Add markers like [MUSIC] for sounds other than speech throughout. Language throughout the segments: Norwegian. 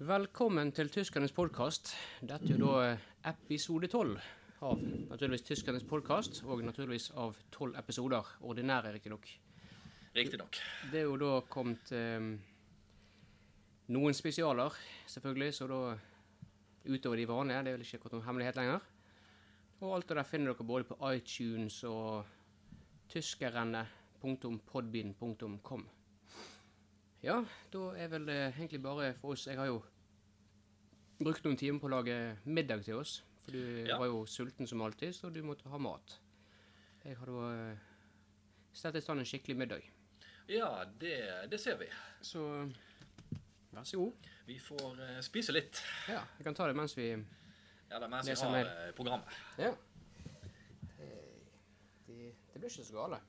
Velkommen til Tyskernes podkast. Dette er jo da eh, episode tolv av naturligvis Tyskernes podkast, og naturligvis av tolv episoder. Ordinære, riktignok. Riktignok. Det er jo da kommet eh, noen spesialer, selvfølgelig, så da utover de vanlige. Det er vel ikke akkurat noen hemmelighet lenger. Og alt det der finner dere både på iTunes og tyskerne.podbin.com. Ja, da er vel det egentlig bare for oss Jeg har jo brukt noen timer på å lage middag til oss. For du Ja. var jo sulten som alltid, så du måtte ha mat. Jeg har da eh, stelt i stand en skikkelig middag. Ja, det, det ser vi. Så vær så god. Vi får eh, spise litt. Ja, jeg kan ta det mens vi Eller mens Det vi som har er- eh, programmet. Ja. Det, det blir ikke så gale.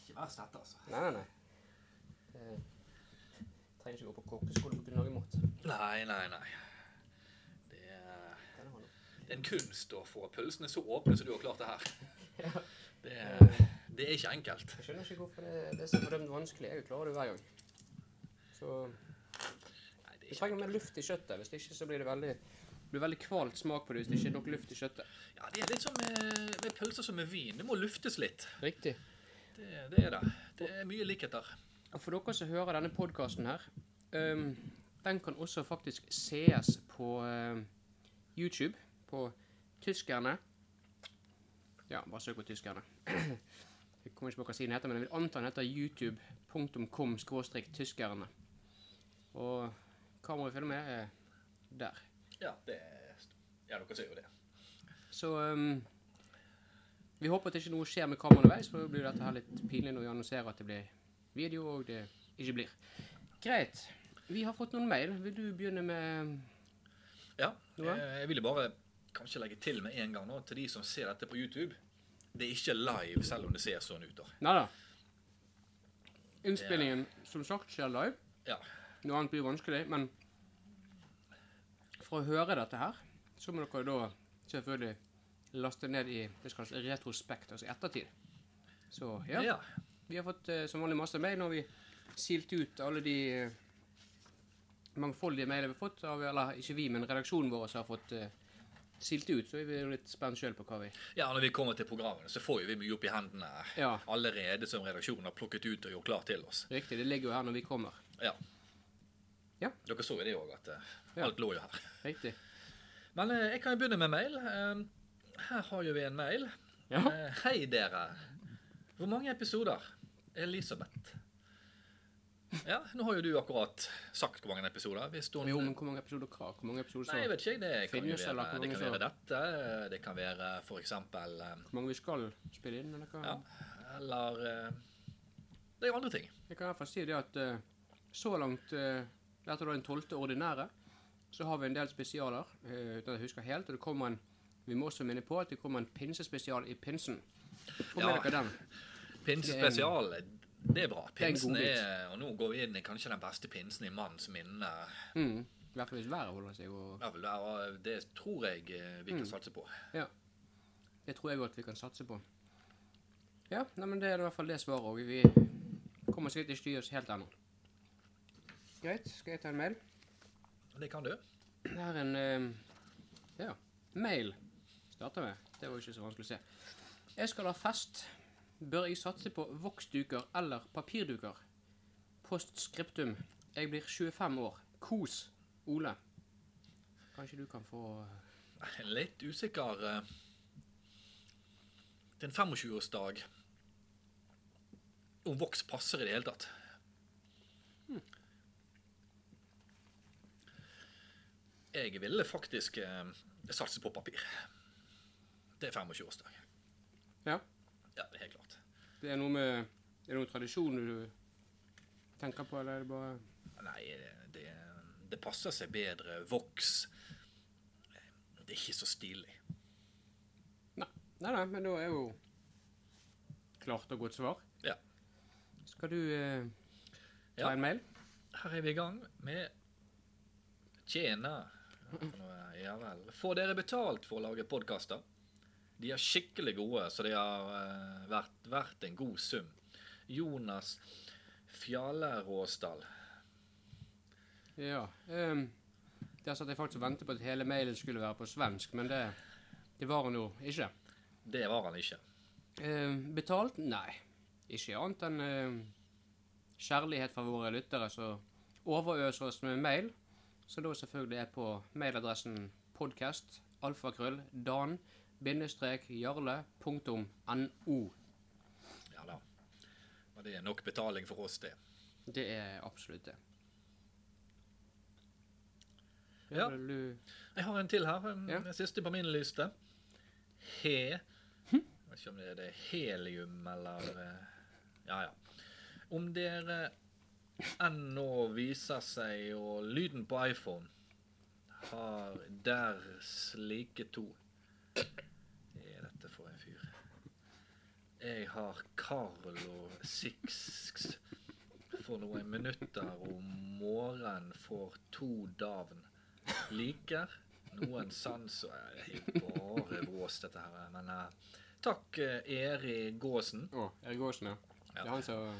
Ikke verst dette, altså. Nei, nei, nei. Eh, trenger ikke gå på kokkeskole for å kunne lage mat. Nei, nei, nei. Det er, Den har noe. det er en kunst å få pølsene så åpne som du har klart det her. Det, er- det er ikke enkelt. Jeg skjønner ikke hvorfor det, det er så fordømt vanskelig. Jeg klarer det hver gang. Så Nei, det Vi er ikke, trenger mer luft i kjøttet. Hvis ikke så blir det veldig det blir veldig kvalt smak på det hvis det ikke er nok luft i kjøttet. ja, det er litt som med, med pølser som med vin. Det må luftes litt. Riktig. Det, det er det. Det er mye likheter. Og for dere som hører denne podkasten her, ehm, den kan også faktisk sees på ehm, YouTube, på tyskerne. Ja, bare søk på tyskerne. Jeg kommer ikke på hva siden heter, men jeg vil anta den heter youtube.com tyskerne. Og kameraet filmer er der. Ja, det er- ja, dere ser jo det. Så ehm, vi håper at ikke noe skjer med kameraet underveis, for da blir dette her litt pinlig når vi annonserer at det blir video, og det ikke blir. Greit. Vi har fått noen mail. Vil du begynne med Ja, Noe? eh, jeg ville bare kanskje legge til med en gang nå, til de som ser dette på YouTube. Det er ikke live, selv om det ser sånn ut. da. Nei da. Innspillingen, som sagt, skjer live. Ja, Noe annet blir vanskelig, men for å høre dette her, så må dere da selvfølgelig laste ned i det som kalles retrospekt, altså i ettertid. Så ja. ja. Vi har fått eh, som vanlig masse mail når vi silte ut alle de eh, mangfoldige mailene vi har fått. Av, eller ikke vi, men redaksjonen vår som har fått eh, silt ut. Så er vi jo litt spent sjøl på hva vi ja, når vi kommer til programmene, så får jo vi mye opp i hendene Ja. allerede som redaksjonen har plukket ut og gjort klar til oss. Riktig, det ligger jo her når vi kommer. Ja. Ja. Dere så jo det òg, at eh, Ja. alt lå jo her. Riktig. Men eh, jeg kan jo begynne med mail. Eh, Her har jo vi en mail. Ja. Eh, Hei, dere. Hvor mange episoder? Elisabeth. Ja, nå har jo du akkurat sagt hvor mange episoder. Hvis hun Jo, men hvor mange episoder hva? Hvor mange episoder Nei, jeg så? vet ikke. Det kan, jo Finnes eller være, det kan konkurranser? være dette. Det kan være for eksempel eh, Hvor mange vi skal spille inn, eller hva? Ja. Eller eh, Det er jo andre ting. Jeg kan i hvert fall si det at eh, så langt eh, Dette er da den tolvte ordinære. Så har vi en del spesialer, eh, uten at jeg husker helt. Og det kommer en Vi må også minne på at det kommer en pinsespesial i pinsen. Få med Ja. dere den. Pinsespesial, det er bra. er en Pinsen godbit. er Og nå går vi inn i kanskje den beste pinsen i manns minne. Mm. I hvert fall hvis været holder seg. Og Ja, vel, ja, Det tror jeg eh, Mm. vi kan satse på. det tror jeg godt vi kan satse på. Ja, nei, men det er i hvert fall det svaret òg. Vi kommer sikkert ikke til å gi oss helt ennå. Greit, skal jeg ta en mail? Det kan du. Det er en eh, ja, mail. Starter med. Det var jo ikke så vanskelig å se. Jeg skal ha fest. Bør jeg satse på voksduker eller papirduker? Post scriptum. Jeg blir 25 år. Kos, Ole. Kanskje du kan få Jeg er Litt usikker. eh. Det er en 25-årsdag. Om voks passer i det hele tatt. Jeg ville faktisk eh, satse på papir. Det er 25-årsdag. Ja. Ja, det er helt klart. Det er noe med Er det noen tradisjon du tenker på, eller er det bare Nei, det, det passer seg bedre. Voks Det er ikke så stilig. Nei, nei, nei men da er jo klart og godt svar. Ja. Skal du eh, ta Ja. en mail? Her er vi i gang med Tjena. Ja vel. Får dere betalt for å lage podkaster? De er skikkelig gode, så det har eh, vært verdt en god sum. Jonas Fjalleråsdal. Ja. ehm, det er sånn at jeg faktisk ventet på at hele mailen skulle være på svensk, men det, det var han jo ikke. Det var han ikke. Ehm, betalt? Nei. Ikke annet enn ehm, kjærlighet fra våre lyttere som overøser oss med mail, som da selvfølgelig er på mailadressen podcast alfakrøll dan bindestrek jarle punktum no. Ja da. Men det er nok betaling for oss, det. Det er absolutt det. Ja. Vil du- Jeg har en til her. En, Ja. en Siste på min liste. He. Jeg vet ikke om det er det helium eller eh, Ja, ja. Om dere ennå viser seg og lyden på iPhone har der slike to Hva er dette for en fyr? Jeg har Carlo Six for noen minutter om morgenen for to dagen liker. Noen sans og jeg er jo bare vås, dette her. Men eh, takk, eh, Eri Gåsen. Å, Erik Aasen, ja. Det er han som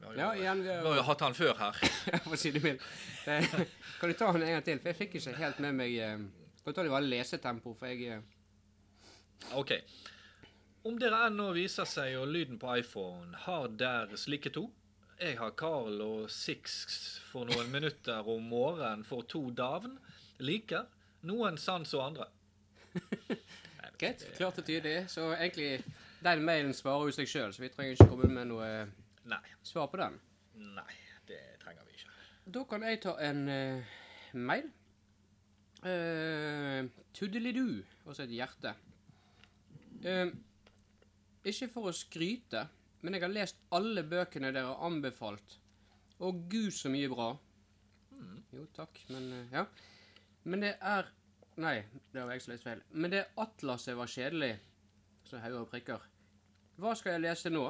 Vi har jo, eh, Ja, igjen. Vi [LAUGHS] vi er, har jo hatt han før her. for å si det mildt. Eh, Kan du ta han en gang til? For jeg fikk ikke helt med meg eh, Kan du ta det i bare lesetempo, for jeg eh, OK. Om dere ennå viser seg og lyden på iPhone har der slike to. Jeg har Carl og Six for noen minutter om morgenen for to davn. Liker. Noen sans og andre. Nei, vet Greit. ikke, Klart og tydelig. Så egentlig, den mailen svarer jo seg sjøl, så vi trenger ikke komme med noe eh, det- Nei. svar på den. Nei, det trenger vi ikke. Da kan jeg ta en eh, mail. Uh, Tuddelidu, og så et hjerte. Eh, ikke for å skryte, men jeg har lest alle bøkene dere har anbefalt. Og gud, så mye bra. Jo, takk, men eh, Ja. Men det er Nei, det var jeg som leste feil. Men det atlaset var kjedelig. Så hauger og prikker. Hva skal jeg lese nå?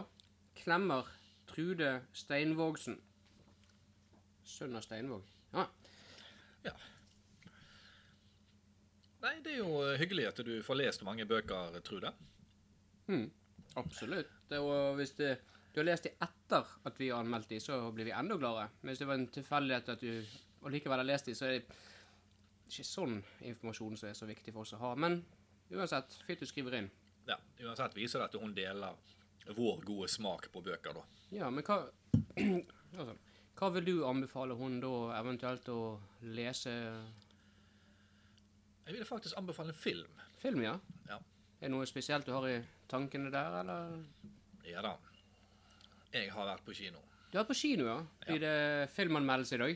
Klemmer Trude Steinvågsen. Sønn av Steinvåg. Ja. Nei, det er jo eh, hyggelig at du får lest mange bøker, Trude. Mm. Absolutt. Det, og hvis det, du har lest de etter at vi har anmeldt de, så blir vi enda gladere. Men hvis det var en tilfeldighet at du allikevel har lest de, så er det ikke sånn informasjon som er så viktig for oss å ha. Men uansett, fint du skriver inn. Ja, Uansett viser det at hun deler vår gode smak på bøker, da. Ja, men hva [CLEARS THROAT] altså, Hva vil du anbefale hun da eventuelt å lese Jeg ville faktisk anbefale en film. film, ja? Ja. Er det noe spesielt du har i tankene der, eller? Ja da. Jeg har vært på kino. Du har vært på kino, ja? Blir det filmanmeldelse i dag?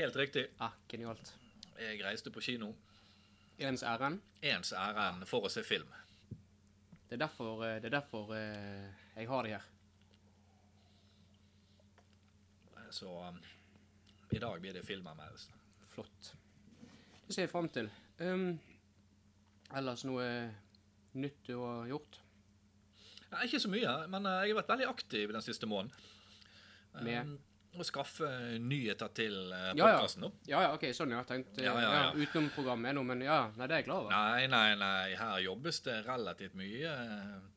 Helt riktig. Ah, genialt. Jeg reiste på kino Ens ærend. ens ærend for å se film. Det er derfor, eh, det er derfor eh, jeg har det her. Så um, i dag blir det filmanmeldelse. Flott. Det ser jeg fram til. Um, ellers noe nytt du har gjort Ja, ikke så mye, men eh, jeg har vært veldig aktiv den siste måneden. med Um, Å skaffe nyheter til Ja, eh, ja. podkasten. da. Ja ja, OK, sånn ja. Tenkte ja, Ja, ja, ja. utenom programmet er noe, men ja. Nei, det er jeg klar over. Nei, nei, nei. Her jobbes det relativt mye eh,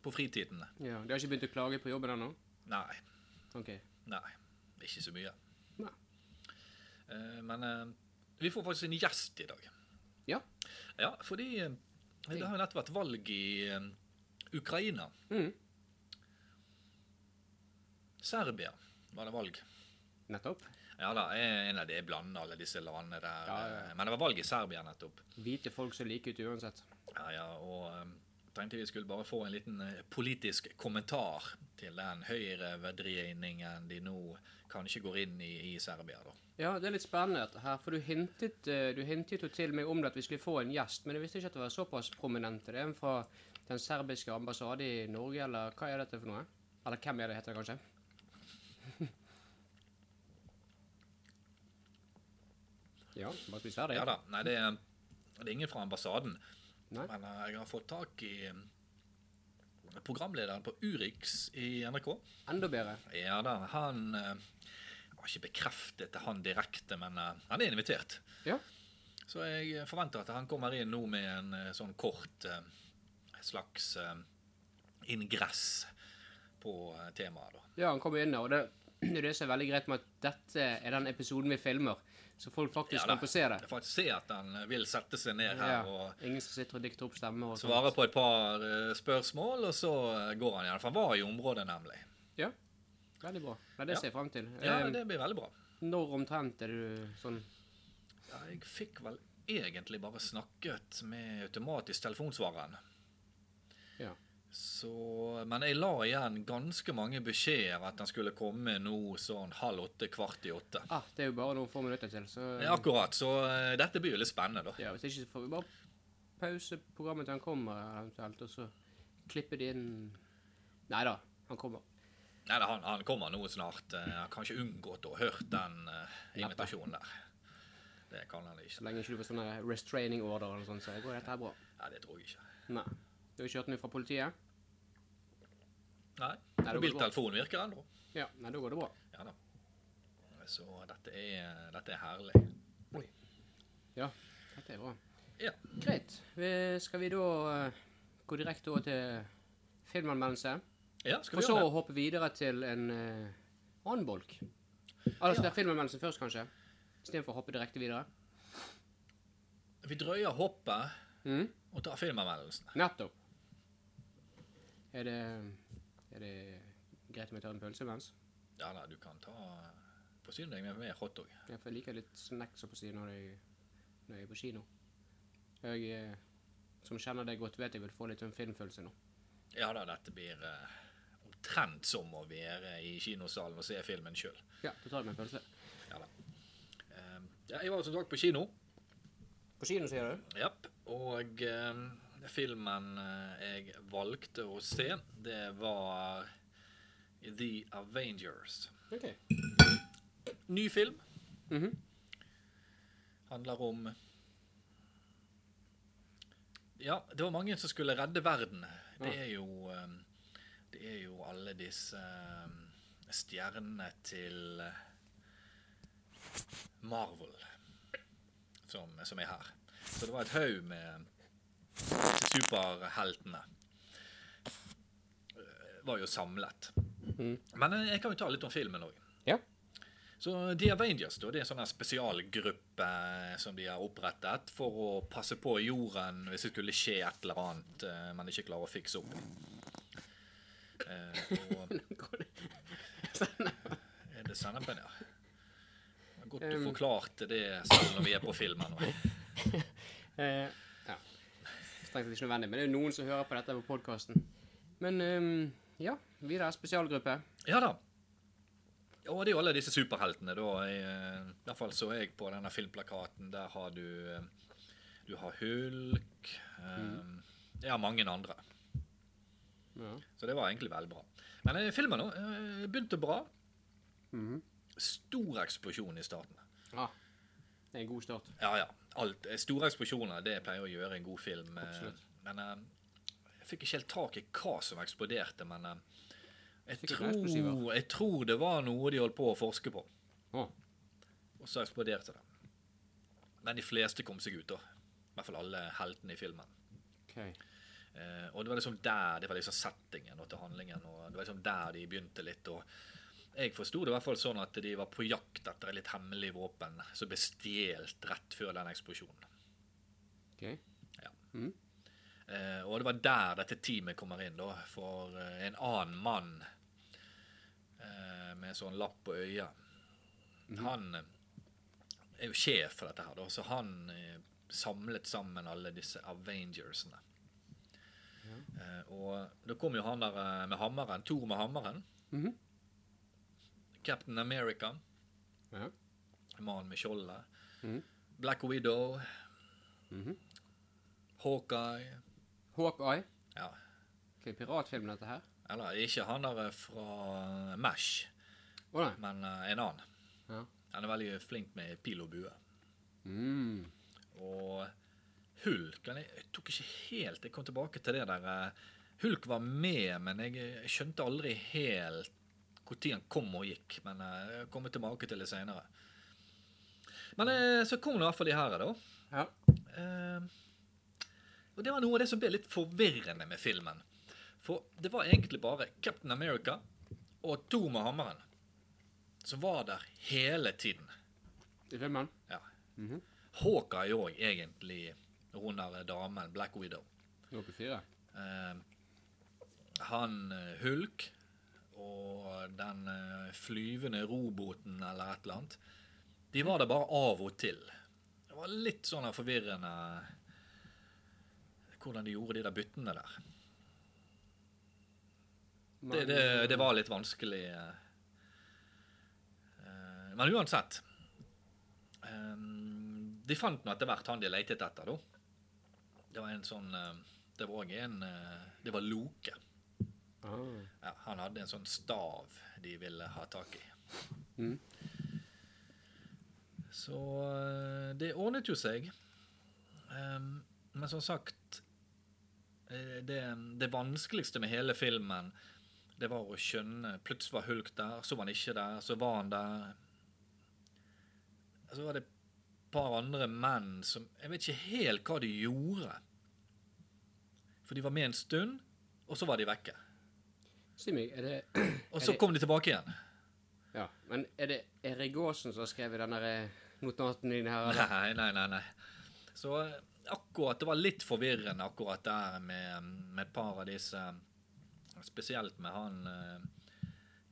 på fritiden. Ja, de har ikke begynt å klage på jobben ennå? Nei. OK. Nei, ikke så mye. Nei. Eh, men eh, vi får faktisk en gjest i dag. Ja. Ja, fordi eh, det har jo nettopp vært valg i eh, Ukraina. Mhm. Serbia var det valg. Nettopp. Ja da, jeg, nei, det er blandet alle disse landene der. Ja, ja, ja. eh, Men det var valg i Serbia nettopp. Hvite folk ser like ut uansett. Ja, ja, og eh, tenkte vi skulle bare få en liten eh, politisk kommentar til den høyreverdreiningen de nå kanskje går inn i i Serbia, da. Ja, det er litt spennende dette her, for du hintet, eh, du hintet jo til meg om det at vi skulle få en gjest, men jeg visste ikke at det var såpass prominent. Er det en fra den serbiske ambassade i Norge, eller hva er dette for noe? Eller hvem er det, heter det kanskje? [LAUGHS] ja, bare spis ferdig. Ja da. Nei, det er, det er ingen fra ambassaden. Nei. Men eh, jeg har fått tak i eh, programlederen på Urix i NRK. Enda bedre. Ja da, han eh, har ikke bekreftet det han direkte, men eh, han er invitert. Ja. Så jeg forventer at han kommer inn nå med en eh, sånn kort eh, slags eh, ingress på eh, temaet, da. Ja, han kommer inn, og det, [CLEARS THROAT] Det er det som er veldig greit med at dette er den episoden vi filmer, så folk faktisk Ja da. kan få se det. Jeg får faktisk se at han eh, vil sette seg ned her Ja. og Ingen som sitter og dikter opp stemmer og svare på et par eh, spørsmål, og så eh, går han igjen. For han var i området, nemlig. Ja, veldig bra. Nei, det Ja. ser jeg frem til. Ja, Eh, det blir veldig bra. Når omtrent er du sånn Ja, jeg fikk vel egentlig bare snakket med automatisk telefonsvareren. Ja. Så, men jeg la igjen ganske mange beskjeder at den skulle komme nå sånn halv åtte, kvart i åtte. Ah, det er jo bare noen få minutter til, så Ja, Akkurat, så eh, dette blir jo litt spennende, da. Ja, hvis ikke så får vi bare pause programmet til han kommer, eventuelt, og så klippe det inn Nei da, han kommer. Nei, da, han, han kommer nå snart. eh, Jeg har ikke unngått å hørt den eh, Neppe. invitasjonen der. Det kan han Så ikke. lenge ikke du får sånn der restraining order eller noe sånt, så går dette her bra. Nei, det tror jeg ikke. Nei. Du har ikke hørt noe fra politiet? Nei, det går Mobiltelefonen virker ennå. Ja, nei, da går det bra. Ja da. Så dette er, dette er herlig. Ja, dette er bra. Ja. Greit. Vi, skal vi da eh, gå direkte over til filmanmeldelse? Ja, skal For vi så gjøre det? å hoppe videre til en eh, annen bolk. Altså, Ja. det er filmanmeldelsen først, kanskje? Istedenfor å hoppe direkte videre. Vi drøyer hoppet Mm. og tar filmanmeldelsene. Nettopp. Er det, er det greit om jeg tar en pølse imens? Ja da, du kan ta Forsyne deg med mer hotdog. Ja, for jeg liker litt snacks oppå siden når jeg, når jeg er på kino. Jeg eh, som kjenner deg godt, vet jeg vil få litt sånn filmfølelse nå. Ja da, dette blir eh, omtrent som å være i kinosalen og se filmen sjøl. Ja, da tar jeg meg en pølse. Ja da. Eh, ja, jeg var som sagt på kino. På kino, sier du? Japp. Og eh, filmen eh, jeg valgte å se, det var The Avengers. Ok. Ny film. Mhm. Handler om Ja, det var mange som skulle redde verden. Det er jo eh, Det er jo alle disse eh, stjernene til eh, Marvel som, som er her. Så det var et haug med superheltene. Eh, Var jo samlet. Mhm. Men eh, jeg kan jo ta litt om filmen òg. [LAUGHS] Ja. Så The Avengers da, det er en sånn her spesialgruppe som de har opprettet for å passe på jorden hvis det skulle skje et eller annet eh, man ikke klarer å fikse opp. Eh, og er det sennepen, ja? Det var Godt du Um. forklarte det selv når vi er på filmen nå. Eh, ja. Strengt tatt ikke nødvendig, men det er jo noen som hører på dette på podkasten. Men ehm, ja, vi er spesialgruppe. Ja da. Og det er jo alle disse superheltene, da. I, eh, I hvert fall så jeg på denne filmplakaten. Der har du eh, Du har Hulk eh, Ja, mange andre. Ja. Så det var egentlig veldig bra. Men eh, filmen nå eh, begynte bra. Mhm. Stor eksplosjon i starten. Ah, det er en god start. Ja, ja. Alt, eh, store eksplosjoner, det pleier å gjøre en god film. eh, Absolutt. Men eh, jeg fikk ikke helt tak i hva som eksploderte, men eh, jeg, Sikkert noen tror, jeg tror det var noe de holdt på å forske på. Å. Og så eksploderte det. Men de fleste kom seg ut, da. I hvert fall alle heltene i filmen. Ok. Eh, og det var liksom der det var liksom settingen og til handlingen. og Det var liksom der de begynte litt. og Jeg forsto det i hvert fall sånn at de var på jakt etter et litt hemmelig våpen som ble stjålet rett før den eksplosjonen. ok. Eh, og det var der dette teamet kommer inn, da. For eh, en annen mann eh, med sånn lapp på øyet Han eh, er jo sjef for dette her, da, så han eh, samlet sammen alle disse Avengersene. Eh, og da kom jo han der eh, med hammeren, Thor med hammeren. Mhm. Captain America, Ja. mannen med skjoldet. Mhm. Black Widow. Hawkeye. Hawkeye. Ja, Ok, piratfilm dette her. Eller ikke han der fra Mash, Å nei. men eh, en annen. Ja. Han er veldig flink med pil og bue. Mm. Og Hulk han, Jeg jeg tok ikke helt Jeg kom tilbake til det der eh, Hulk var med, men jeg, jeg skjønte aldri helt når han kom og gikk. Men eh, jeg kommer tilbake til det seinere. Men eh, så kom nå i hvert fall de her, da. Ja. Eh, og det var noe av det som ble litt forvirrende med filmen. For det var egentlig bare Captain America og to med hammeren. som var der hele tiden. Rømmen? Ja. Mhm. Hawkeye òg, egentlig, hun der damen, Black Widow. Oppe i fire? Eh, han eh, Hulk og den eh, flyvende roboten eller et eller annet, de var det bare av og til. Det var litt sånn forvirrende eh, hvordan de gjorde de der byttene der. Det, det, det var litt vanskelig. eh. Eh, Men uansett eh, De fant nå etter hvert han de lette etter, da. Det var en sånn eh, Det var også en eh, Det var Loke. Ah. Ja, han hadde en sånn stav de ville ha tak i. Mhm. Så eh, det ordnet jo seg. Ehm, men som sagt eh, det, det vanskeligste med hele filmen, det var å skjønne Plutselig var Hulk der, så var han ikke der, så var han der. Så var det et par andre menn som Jeg vet ikke helt hva de gjorde. For de var med en stund, og så var de vekke. Si meg, er det [CLEARS THROAT] Og Er så det- kom de tilbake igjen. Ja, men er det Erik Aasen som har skrevet den der eh, notaten din her? eller? Nei, nei, nei. nei. Så eh, akkurat, det var litt forvirrende akkurat der med, med et par av disse Spesielt med han eh,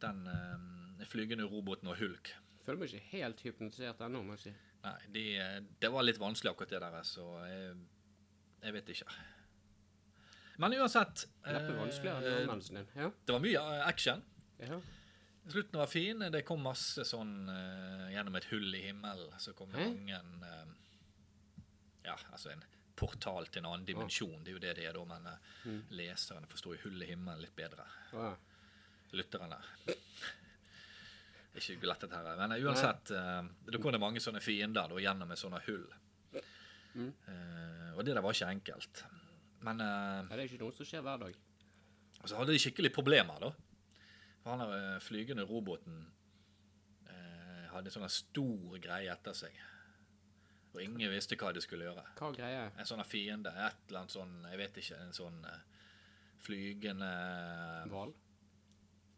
den eh, flygende roboten og Hulk. Jeg føler meg ikke helt hypnotisert ennå, må jeg si. Nei, de, eh, det var litt vanskelig akkurat det der, så jeg, jeg vet ikke. Men uansett Neppe eh, vanskeligere enn anmeldelsen din. Ja. Det var mye eh, action. ja. Slutten var fin. Det kom masse sånn eh, gjennom et hull i himmelen. Så kom det Hæ? mange eh, Ja, altså en portal til en annen dimensjon. Det er jo det det er, da. Men eh, Mm. leserne forstår jo hull i himmelen litt bedre. Bra. Lytterne. Ikke lett dette her. Men eh, uansett, eh, da kom det mange sånne fiender da, gjennom et sånt hull. Mm. Eh, og det der var ikke enkelt. Men eh, Ja, det er ikke noe som skjer hver dag. og så hadde de skikkelig problemer, da. For han der eh, flygende roboten eh, hadde en sånn stor greie etter seg. Og ingen visste hva de skulle gjøre. Hva greier jeg? En sånn fiende, et eller annet sånn, jeg vet ikke, en sånn eh, flygende Hval?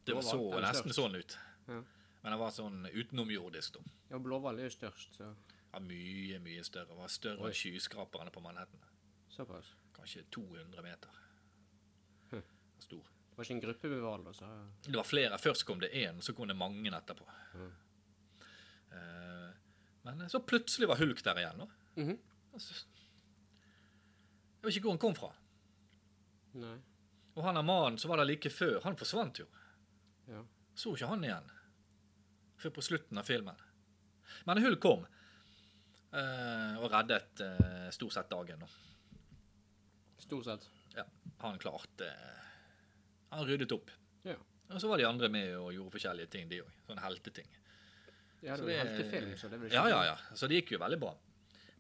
Det var så Blåhval, eller nesten størst. sånn ut. Ja. Men det var sånn utenomjordisk, da. Ja, blåhval er jo størst, så Ja, mye, mye større. Det var større enn skyskraperne på Manhattan. såpass. Kanskje 200 meter. Hm. Stor. Det var ikke en gruppe med altså. hval, da, så Det var flere. Først kom det én, så kom det mange etterpå. Mhm. Eh, men så plutselig var Hulk der igjen. Da. Mhm. Altså, jeg vet ikke hvor han kom fra. Nei. Og han er mannen som var der like før, han forsvant jo. Ja. Så ikke han igjen før på slutten av filmen. Men Hulk kom eh, og reddet eh, stort sett dagen. Da. Stort sett. Han klarte eh, Han ryddet opp. Ja. Og så var de andre med og gjorde forskjellige ting, de òg. Sånne helteting. Ja, det Så var en det- heltefilm, så det blir Ja, ja, ja. Så det gikk jo veldig bra.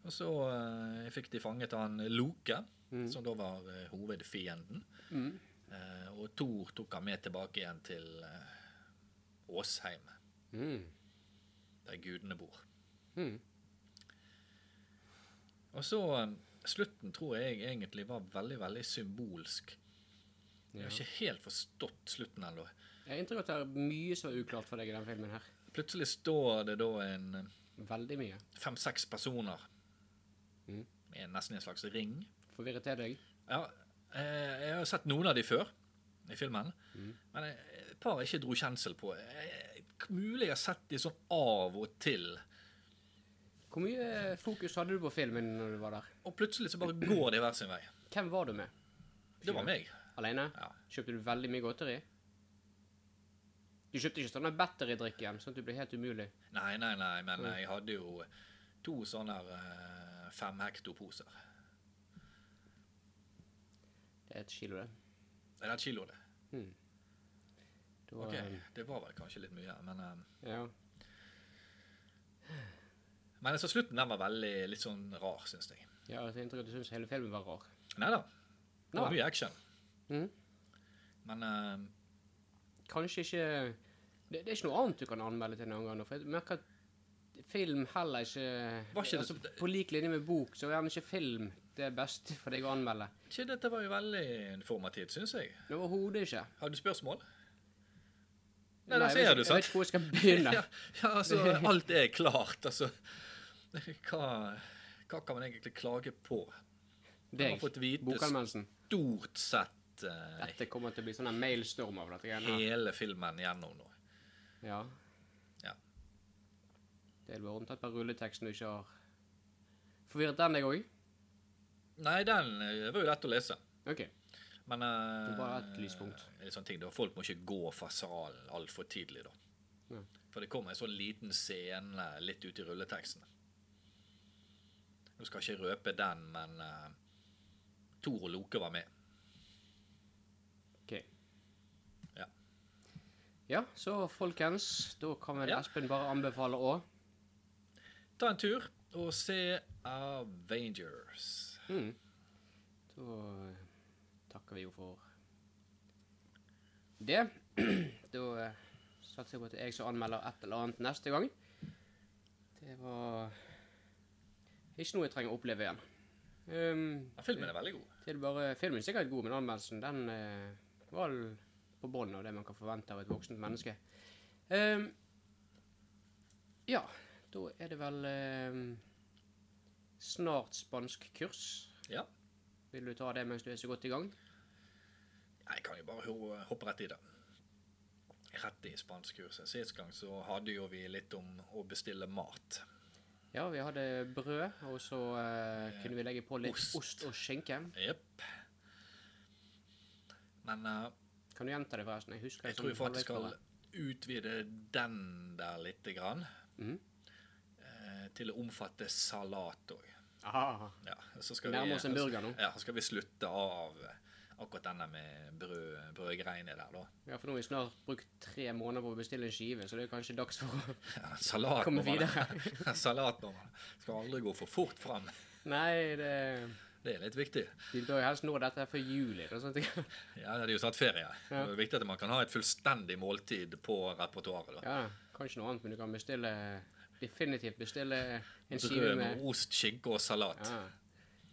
Og så eh, fikk de fanget han Loke, Mhm. som da var eh, hovedfienden. Mm. Eh, og Thor tok han med tilbake igjen til eh, Åsheim, Mm. der gudene bor. Mm. Og så eh, Slutten tror jeg egentlig var veldig, veldig symbolsk. Jeg har Ja. ikke helt forstått slutten ennå. Jeg har inntrykk av at det er mye som er uklart for deg i den filmen her. Plutselig står det da en eh, Veldig mye. fem-seks personer Mhm. med nesten en slags ring. Forvirret er deg? Ja, eh, jeg har sett noen av de før i filmen, Mm. men jeg- et par jeg ikke dro kjensel på. Jeg, mulig jeg har sett de sånn av og til, Hvor mye fokus hadde du på filmen når du var der? og plutselig så bare går de hver sin vei. Hvem var du med? Det var meg. Alene? Ja. Kjøpte du veldig mye godteri? Du kjøpte ikke sånne batteridrikk igjen, sånn at du ble helt umulig. Nei, nei, nei, men jeg hadde jo to sånne eh, fem hektoposer. Det er et kilo, det. Er det et kilo, det? Da, Ok, eh, det var vel kanskje litt mye, men... eh, ja. Men altså, slutten den var veldig litt sånn rar, synes jeg. ja, altså, jeg har inntrykk av at du syns hele filmen var rar. Neida, det var Nei. mye action. Mhm. Men eh, Kanskje ikke det, det er ikke noe annet du kan anmelde til en annen gang. da, For jeg merker at film heller ikke, Var ikke det- altså, På lik linje med bok, så er gjerne ikke film det beste for deg å anmelde. ikke dette var jo veldig informativt, synes jeg. Overhodet ikke. Har du spørsmål? Nei, der jeg vet ikke- ser du, Jeg sant? vet ikke hvor jeg skal begynne. [LAUGHS] Ja, ja, altså, alt er klart, altså. Hva, hva kan man egentlig klage på? Man har Deg, fått vite bokanmeldelsen. stort sett eh, Dette kommer til å bli sånn en mailstorm av dette greiene her. hele filmen gjennom nå. Ja. Ja. Det er bare omtatt på rulleteksten du ikke har forvirret den, deg òg. Nei, den eh, var jo lett å lese. OK. Men eh, Det var et lyspunkt. en sånn ting, da. Folk må ikke gå fra salen altfor tidlig, da. Nei. For det kommer en sånn liten scene litt ut i rulleteksten. Nå skal jeg ikke røpe den, men eh, Tor og Loke var med. ok. Ja. Ja, så folkens, da kan vel Ja. Espen bare anbefale òg. Ta en tur og se Avengers. Mm. Da eh, takker vi jo for det. [CLEARS THROAT] da eh, satser jeg på at det er jeg som anmelder et eller annet neste gang. Det var ikke noe jeg trenger å oppleve igjen. Ehm, Ja, filmen er veldig god. det er bare, filmen er sikkert god, men anmeldelsen den eh, var l- på bånn av det man kan forvente av et voksent menneske. Ehm, ja, da er det vel ehm, snart spansk kurs. Ja. Vil du ta det mens du er så godt i gang? Jeg kan jo bare ho- hoppe rett i det. Rett i spanskkurset. Sist gang så hadde jo vi litt om å bestille mat. Ja, vi hadde brød, og så eh, kunne vi legge på litt Ost. ost, og skinke. Jepp. Men eh, Kan du gjenta det forresten? Jeg husker jeg tror vi faktisk skal utvide den der lite grann. Mhm. eh, Til å omfatte salat òg. Aha, Ja, så skal vi- nærmer oss en burger nå. Ja, så skal vi slutte av eh, akkurat denne med brød, brødgreiene der, da. [LAUGHS] Ja, for nå har vi snart brukt tre måneder på å bestille en skive, så det er kanskje dags for å [LAUGHS] Ja, salat Komme må man- [LAUGHS] salat må man Skal aldri gå for fort fram. Nei, det Det er litt viktig. De bør jo helst nå dette her før juli. eller sånt. Ja, det er jo snart ferie. Det er viktig at man kan ha et fullstendig måltid på repertoaret. da. Ja, kanskje noe annet, men du kan bestille Definitivt bestille en skive Brød med med ost, skinke og salat. ja,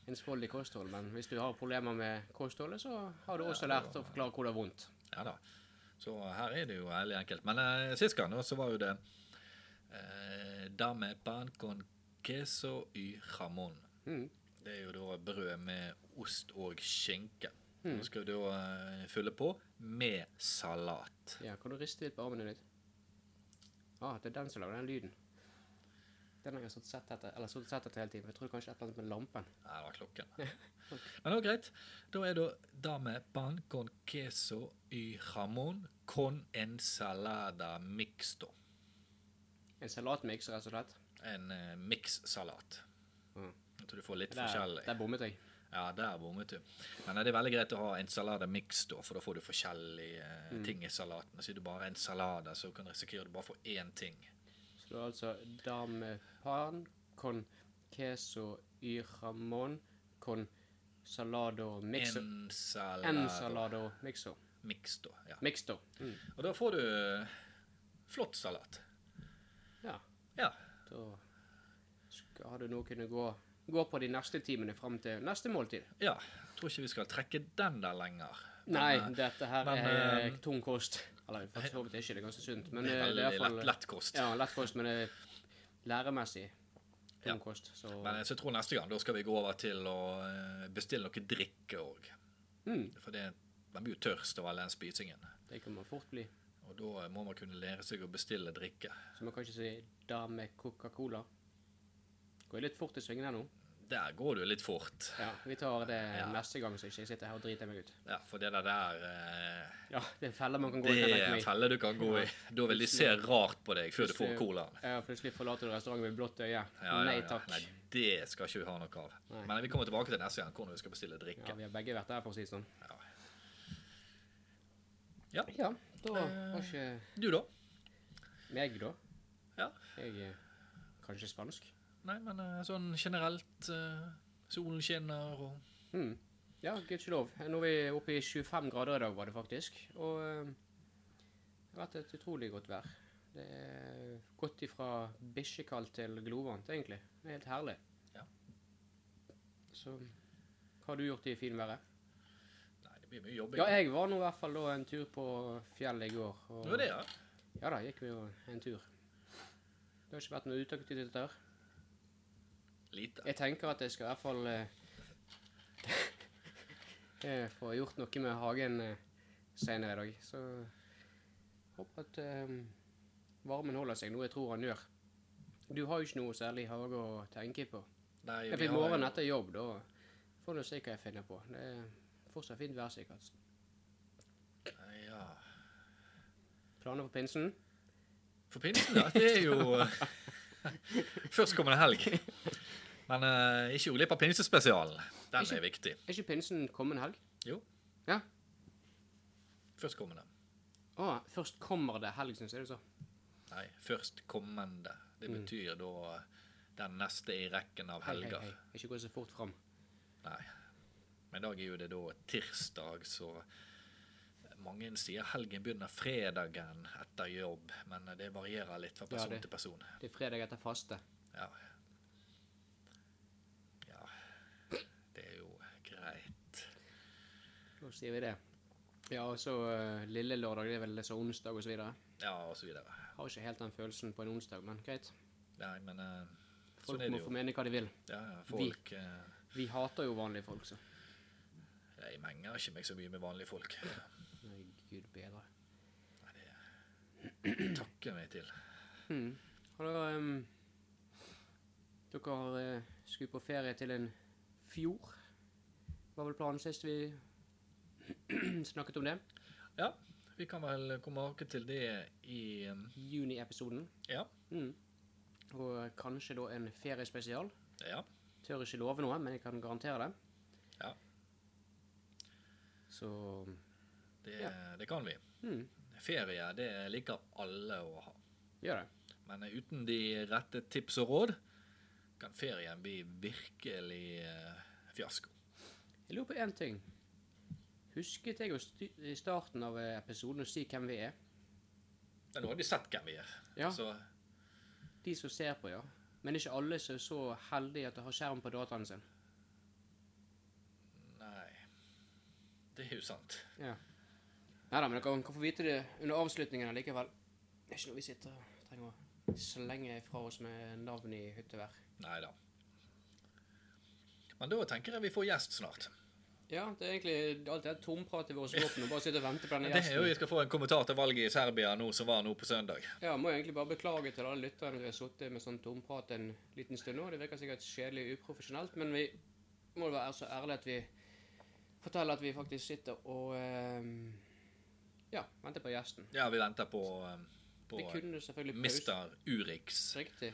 ensfoldig kosthold. Men hvis du har problemer med kostholdet, så har du også lært å forklare hvor det er vondt. Ja da. Så her er det jo veldig enkelt. Men eh, sist gang da, så var jo det eh, dame pan con queso y jamón. Mm. Det er jo da brød med ost og skinke. Nå skal du da eh, fylle på med salat. Ja, kan du riste litt på armen din litt? Ah, det er den som lager den lyden. Den har jeg stått sett etter, eller stått sett etter hele tiden. for Jeg tror kanskje et eller annet med lampen. Nei, det var klokken. Men det var greit. Da er det dame pan con queso y jamón con ensalada mixto. En salatmiks, rett og slett. En eh, mikssalat. Mm. Jeg tror du får litt Der, forskjellig. der bommet jeg. Ja, der bommet du. Men det er veldig greit å ha ensalada mixto, for da får du forskjellige eh, Mm. ting i salaten. Og så er det bare ensalada, så kan du risikere du bare får én ting. Så det er altså dame pan con queso y jamón con salado mixo. En Ensalada salado mixo. mixto. Ja. Mixto. Mm. Og da får du eh, flott salat. Ja, Ja. da skal du nå kunne gå, gå på de neste timene fram til neste måltid. Ja, jeg tror ikke vi skal trekke den der lenger. Men, Nei, eh, dette her men, er eh, tung kost. Eller for så vidt ikke, det er ganske sunt. Men det eh, er det er veldig lett, iallfall lett kost. ja, lett kost, men det er læremessig Ja. tung kost. Så Men jeg så tror neste gang da skal vi gå over til å eh, bestille noe drikke òg. mm, For det, man blir jo tørst av all den spisingen. det kan man fort bli. Og da eh, må man kunne lære seg å bestille drikke. Så man kan ikke si dame Coca-Cola. Går jeg litt fort i svingen her nå? Der går det jo litt fort. Ja, vi tar det Ja. neste gang, så ikke jeg sitter her og driter meg ut. Ja, For det der, eh, Ja, det er feller man kan gå det i. kan jeg er tenke en meg. felle du kan gå i. Da vil de se rart på deg før du får colaen. Ja, plutselig forlater du restauranten med blått øye. Ja, ja, Nei ja. takk. Nei, det skal ikke vi ha noe av. Nei. Men vi kommer tilbake til neste gang hvordan vi skal bestille Ja, drikke. vi har begge vært der, for å si det sånn. Ja. Ja, da var ikke Du, da? meg, da. Ja. Jeg er kanskje spansk. Nei, men eh, sånn generelt eh, Solen skinner og Mm. Ja, gudskjelov. Nå er vi oppe i 25 grader i dag, var det faktisk. Og eh, det har vært et utrolig godt vær. Det er gått ifra bikkjekaldt til glovarmt, egentlig. Det er helt herlig. Ja. Så hva har du gjort i finværet? Nei, det blir mye jobbing. Ja, jeg var nå i hvert fall da en tur på fjellet i går. Og Det var det, ja. Ja da, gikk vi jo en tur. Det har ikke vært noe utaktivitet der. Lite. Jeg tenker at jeg skal i hvert fall eh, [LAUGHS] eh, få gjort noe med hagen eh, senere i dag. Så håper at eh, varmen holder seg, noe jeg tror han gjør. Du har jo ikke noe særlig hage å tenke på. Nei, Jeg vi fikk har morgenen jo- etter jobb, da får du se hva jeg finner på. Det er fortsatt fint vær, sikkert. Ja. Planer for pinsen? For pinsen, ja. Det er [LAUGHS] jo eh, Førstkommende helg. [LAUGHS] Men eh, ikke gå glipp av pinsespesialen. Den Ikke- er viktig. Er ikke pinsen kommende helg? Førstkommende. Å, først kommer det helg, syns jeg du sa. Nei, førstkommende. Det Mm. betyr da den neste i rekken av Hei, hei, helger. hei. Ikke gå så fort fram. Nei. Men i dag er jo det da tirsdag, så mange sier helgen begynner fredagen etter jobb, men det varierer litt fra Ja, person det- til person. Det er fredag etter faste. Ja. ja. Det er jo greit. Da sier vi det. Ja, og så eh, lille lørdag, det er vel så onsdag og så videre. Ja, og så videre. Har ikke helt den følelsen på en onsdag, men greit. Nei, men eh, Folk sånn er må det få jo. mene hva de vil. Ja, ja, folk eh, Vi hater jo vanlige folk, så. Jeg menger ikke meg så mye med vanlige [CLEARS THROAT] folk. Nei, gud bedre. Takker meg til. Hmm. Og da, em, dere eh, skulle på ferie til en fjord. Var vel planen sist vi [CLEARS THROAT] snakket om det? Ja, vi kan vel komme tilbake til det i eh, Juni-episoden. Ja. Mm. Og eh, kanskje da en feriespesial. ja. Tør ikke love noe, men jeg kan garantere det. Ja. Så Det, det kan vi. mm, Ferie, det liker alle å ha. gjør det. Men uten de rette tips og råd kan ferien bli virkelig eh, fiasko. Jeg lurer på én ting. Husket jeg å sty i starten av eh, episoden å si hvem vi er? Men nå har de sett hvem vi er. Ja, Så de som ser på, ja. Men ikke alle som er så heldige at de har skjerm på dataen sin. nei. Det er jo sant. Ja. Nei da, men dere kan få vite det under avslutningen allikevel. Det er ikke noe vi sitter og trenger å slenge fra oss med navn i hyttevær. Nei da. Men da tenker jeg vi får gjest snart. Ja, det er egentlig alt det tompratet ved oss våpen og bare sitte og vente på denne Det er jo gjesten. vi skal få en kommentar til valget i Serbia nå som var nå på søndag. Ja, må jeg egentlig bare beklage til alle lytterne vi har sittet med sånn tomprat en liten stund nå. Det virker sikkert kjedelig og uprofesjonelt, men vi må være så ærlige at vi forteller at vi faktisk sitter og eh, ja, venter på gjesten. Ja, vi venter på, eh, på Vi kunne selvfølgelig pauset Mister Urix. riktig,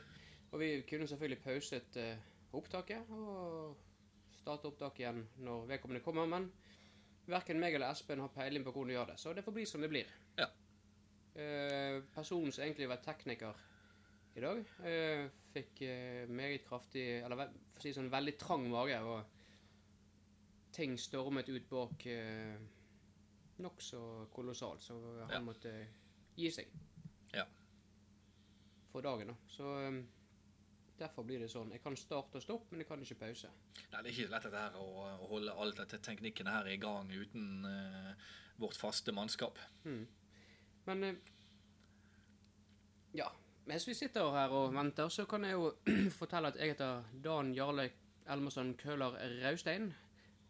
og vi kunne selvfølgelig pauset eh, opptaket og starte opptaket igjen når vedkommende kommer, men verken meg eller Espen har peiling på hvordan de gjør det, så det får bli som det blir. Ja. Eh, personen som egentlig var tekniker i dag, eh, fikk eh, meget kraftig, eller ve- for å si det sånn, veldig trang mage, og ting stormet ut bak eh, nok så kolossalt, så han Ja. måtte eh, gi seg. Ja. For dagen da, så eh, derfor blir det sånn, jeg kan starte og stoppe, men jeg kan ikke pause. Nei, det er ikke lett dette her å, å holde all dette teknikken her i gang uten eh, vårt faste mannskap. Men eh, Ja. Mens vi sitter her og venter, så kan jeg jo [CLEARS THROAT] fortelle at jeg heter Dan Jarle Elmersen Køhler Raustein.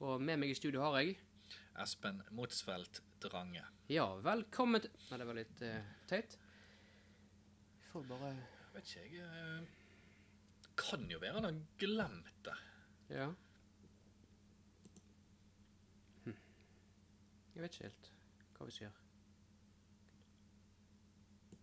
Og med meg i studio har jeg Espen Motsfeldt Drange. Ja, velkommen til Nei, det var litt eh, teit. Jeg får bare Vet ikke, jeg eh, Kan jo være han har glemt det. Ja. Hm. Jeg vet ikke helt hva vi skal gjøre.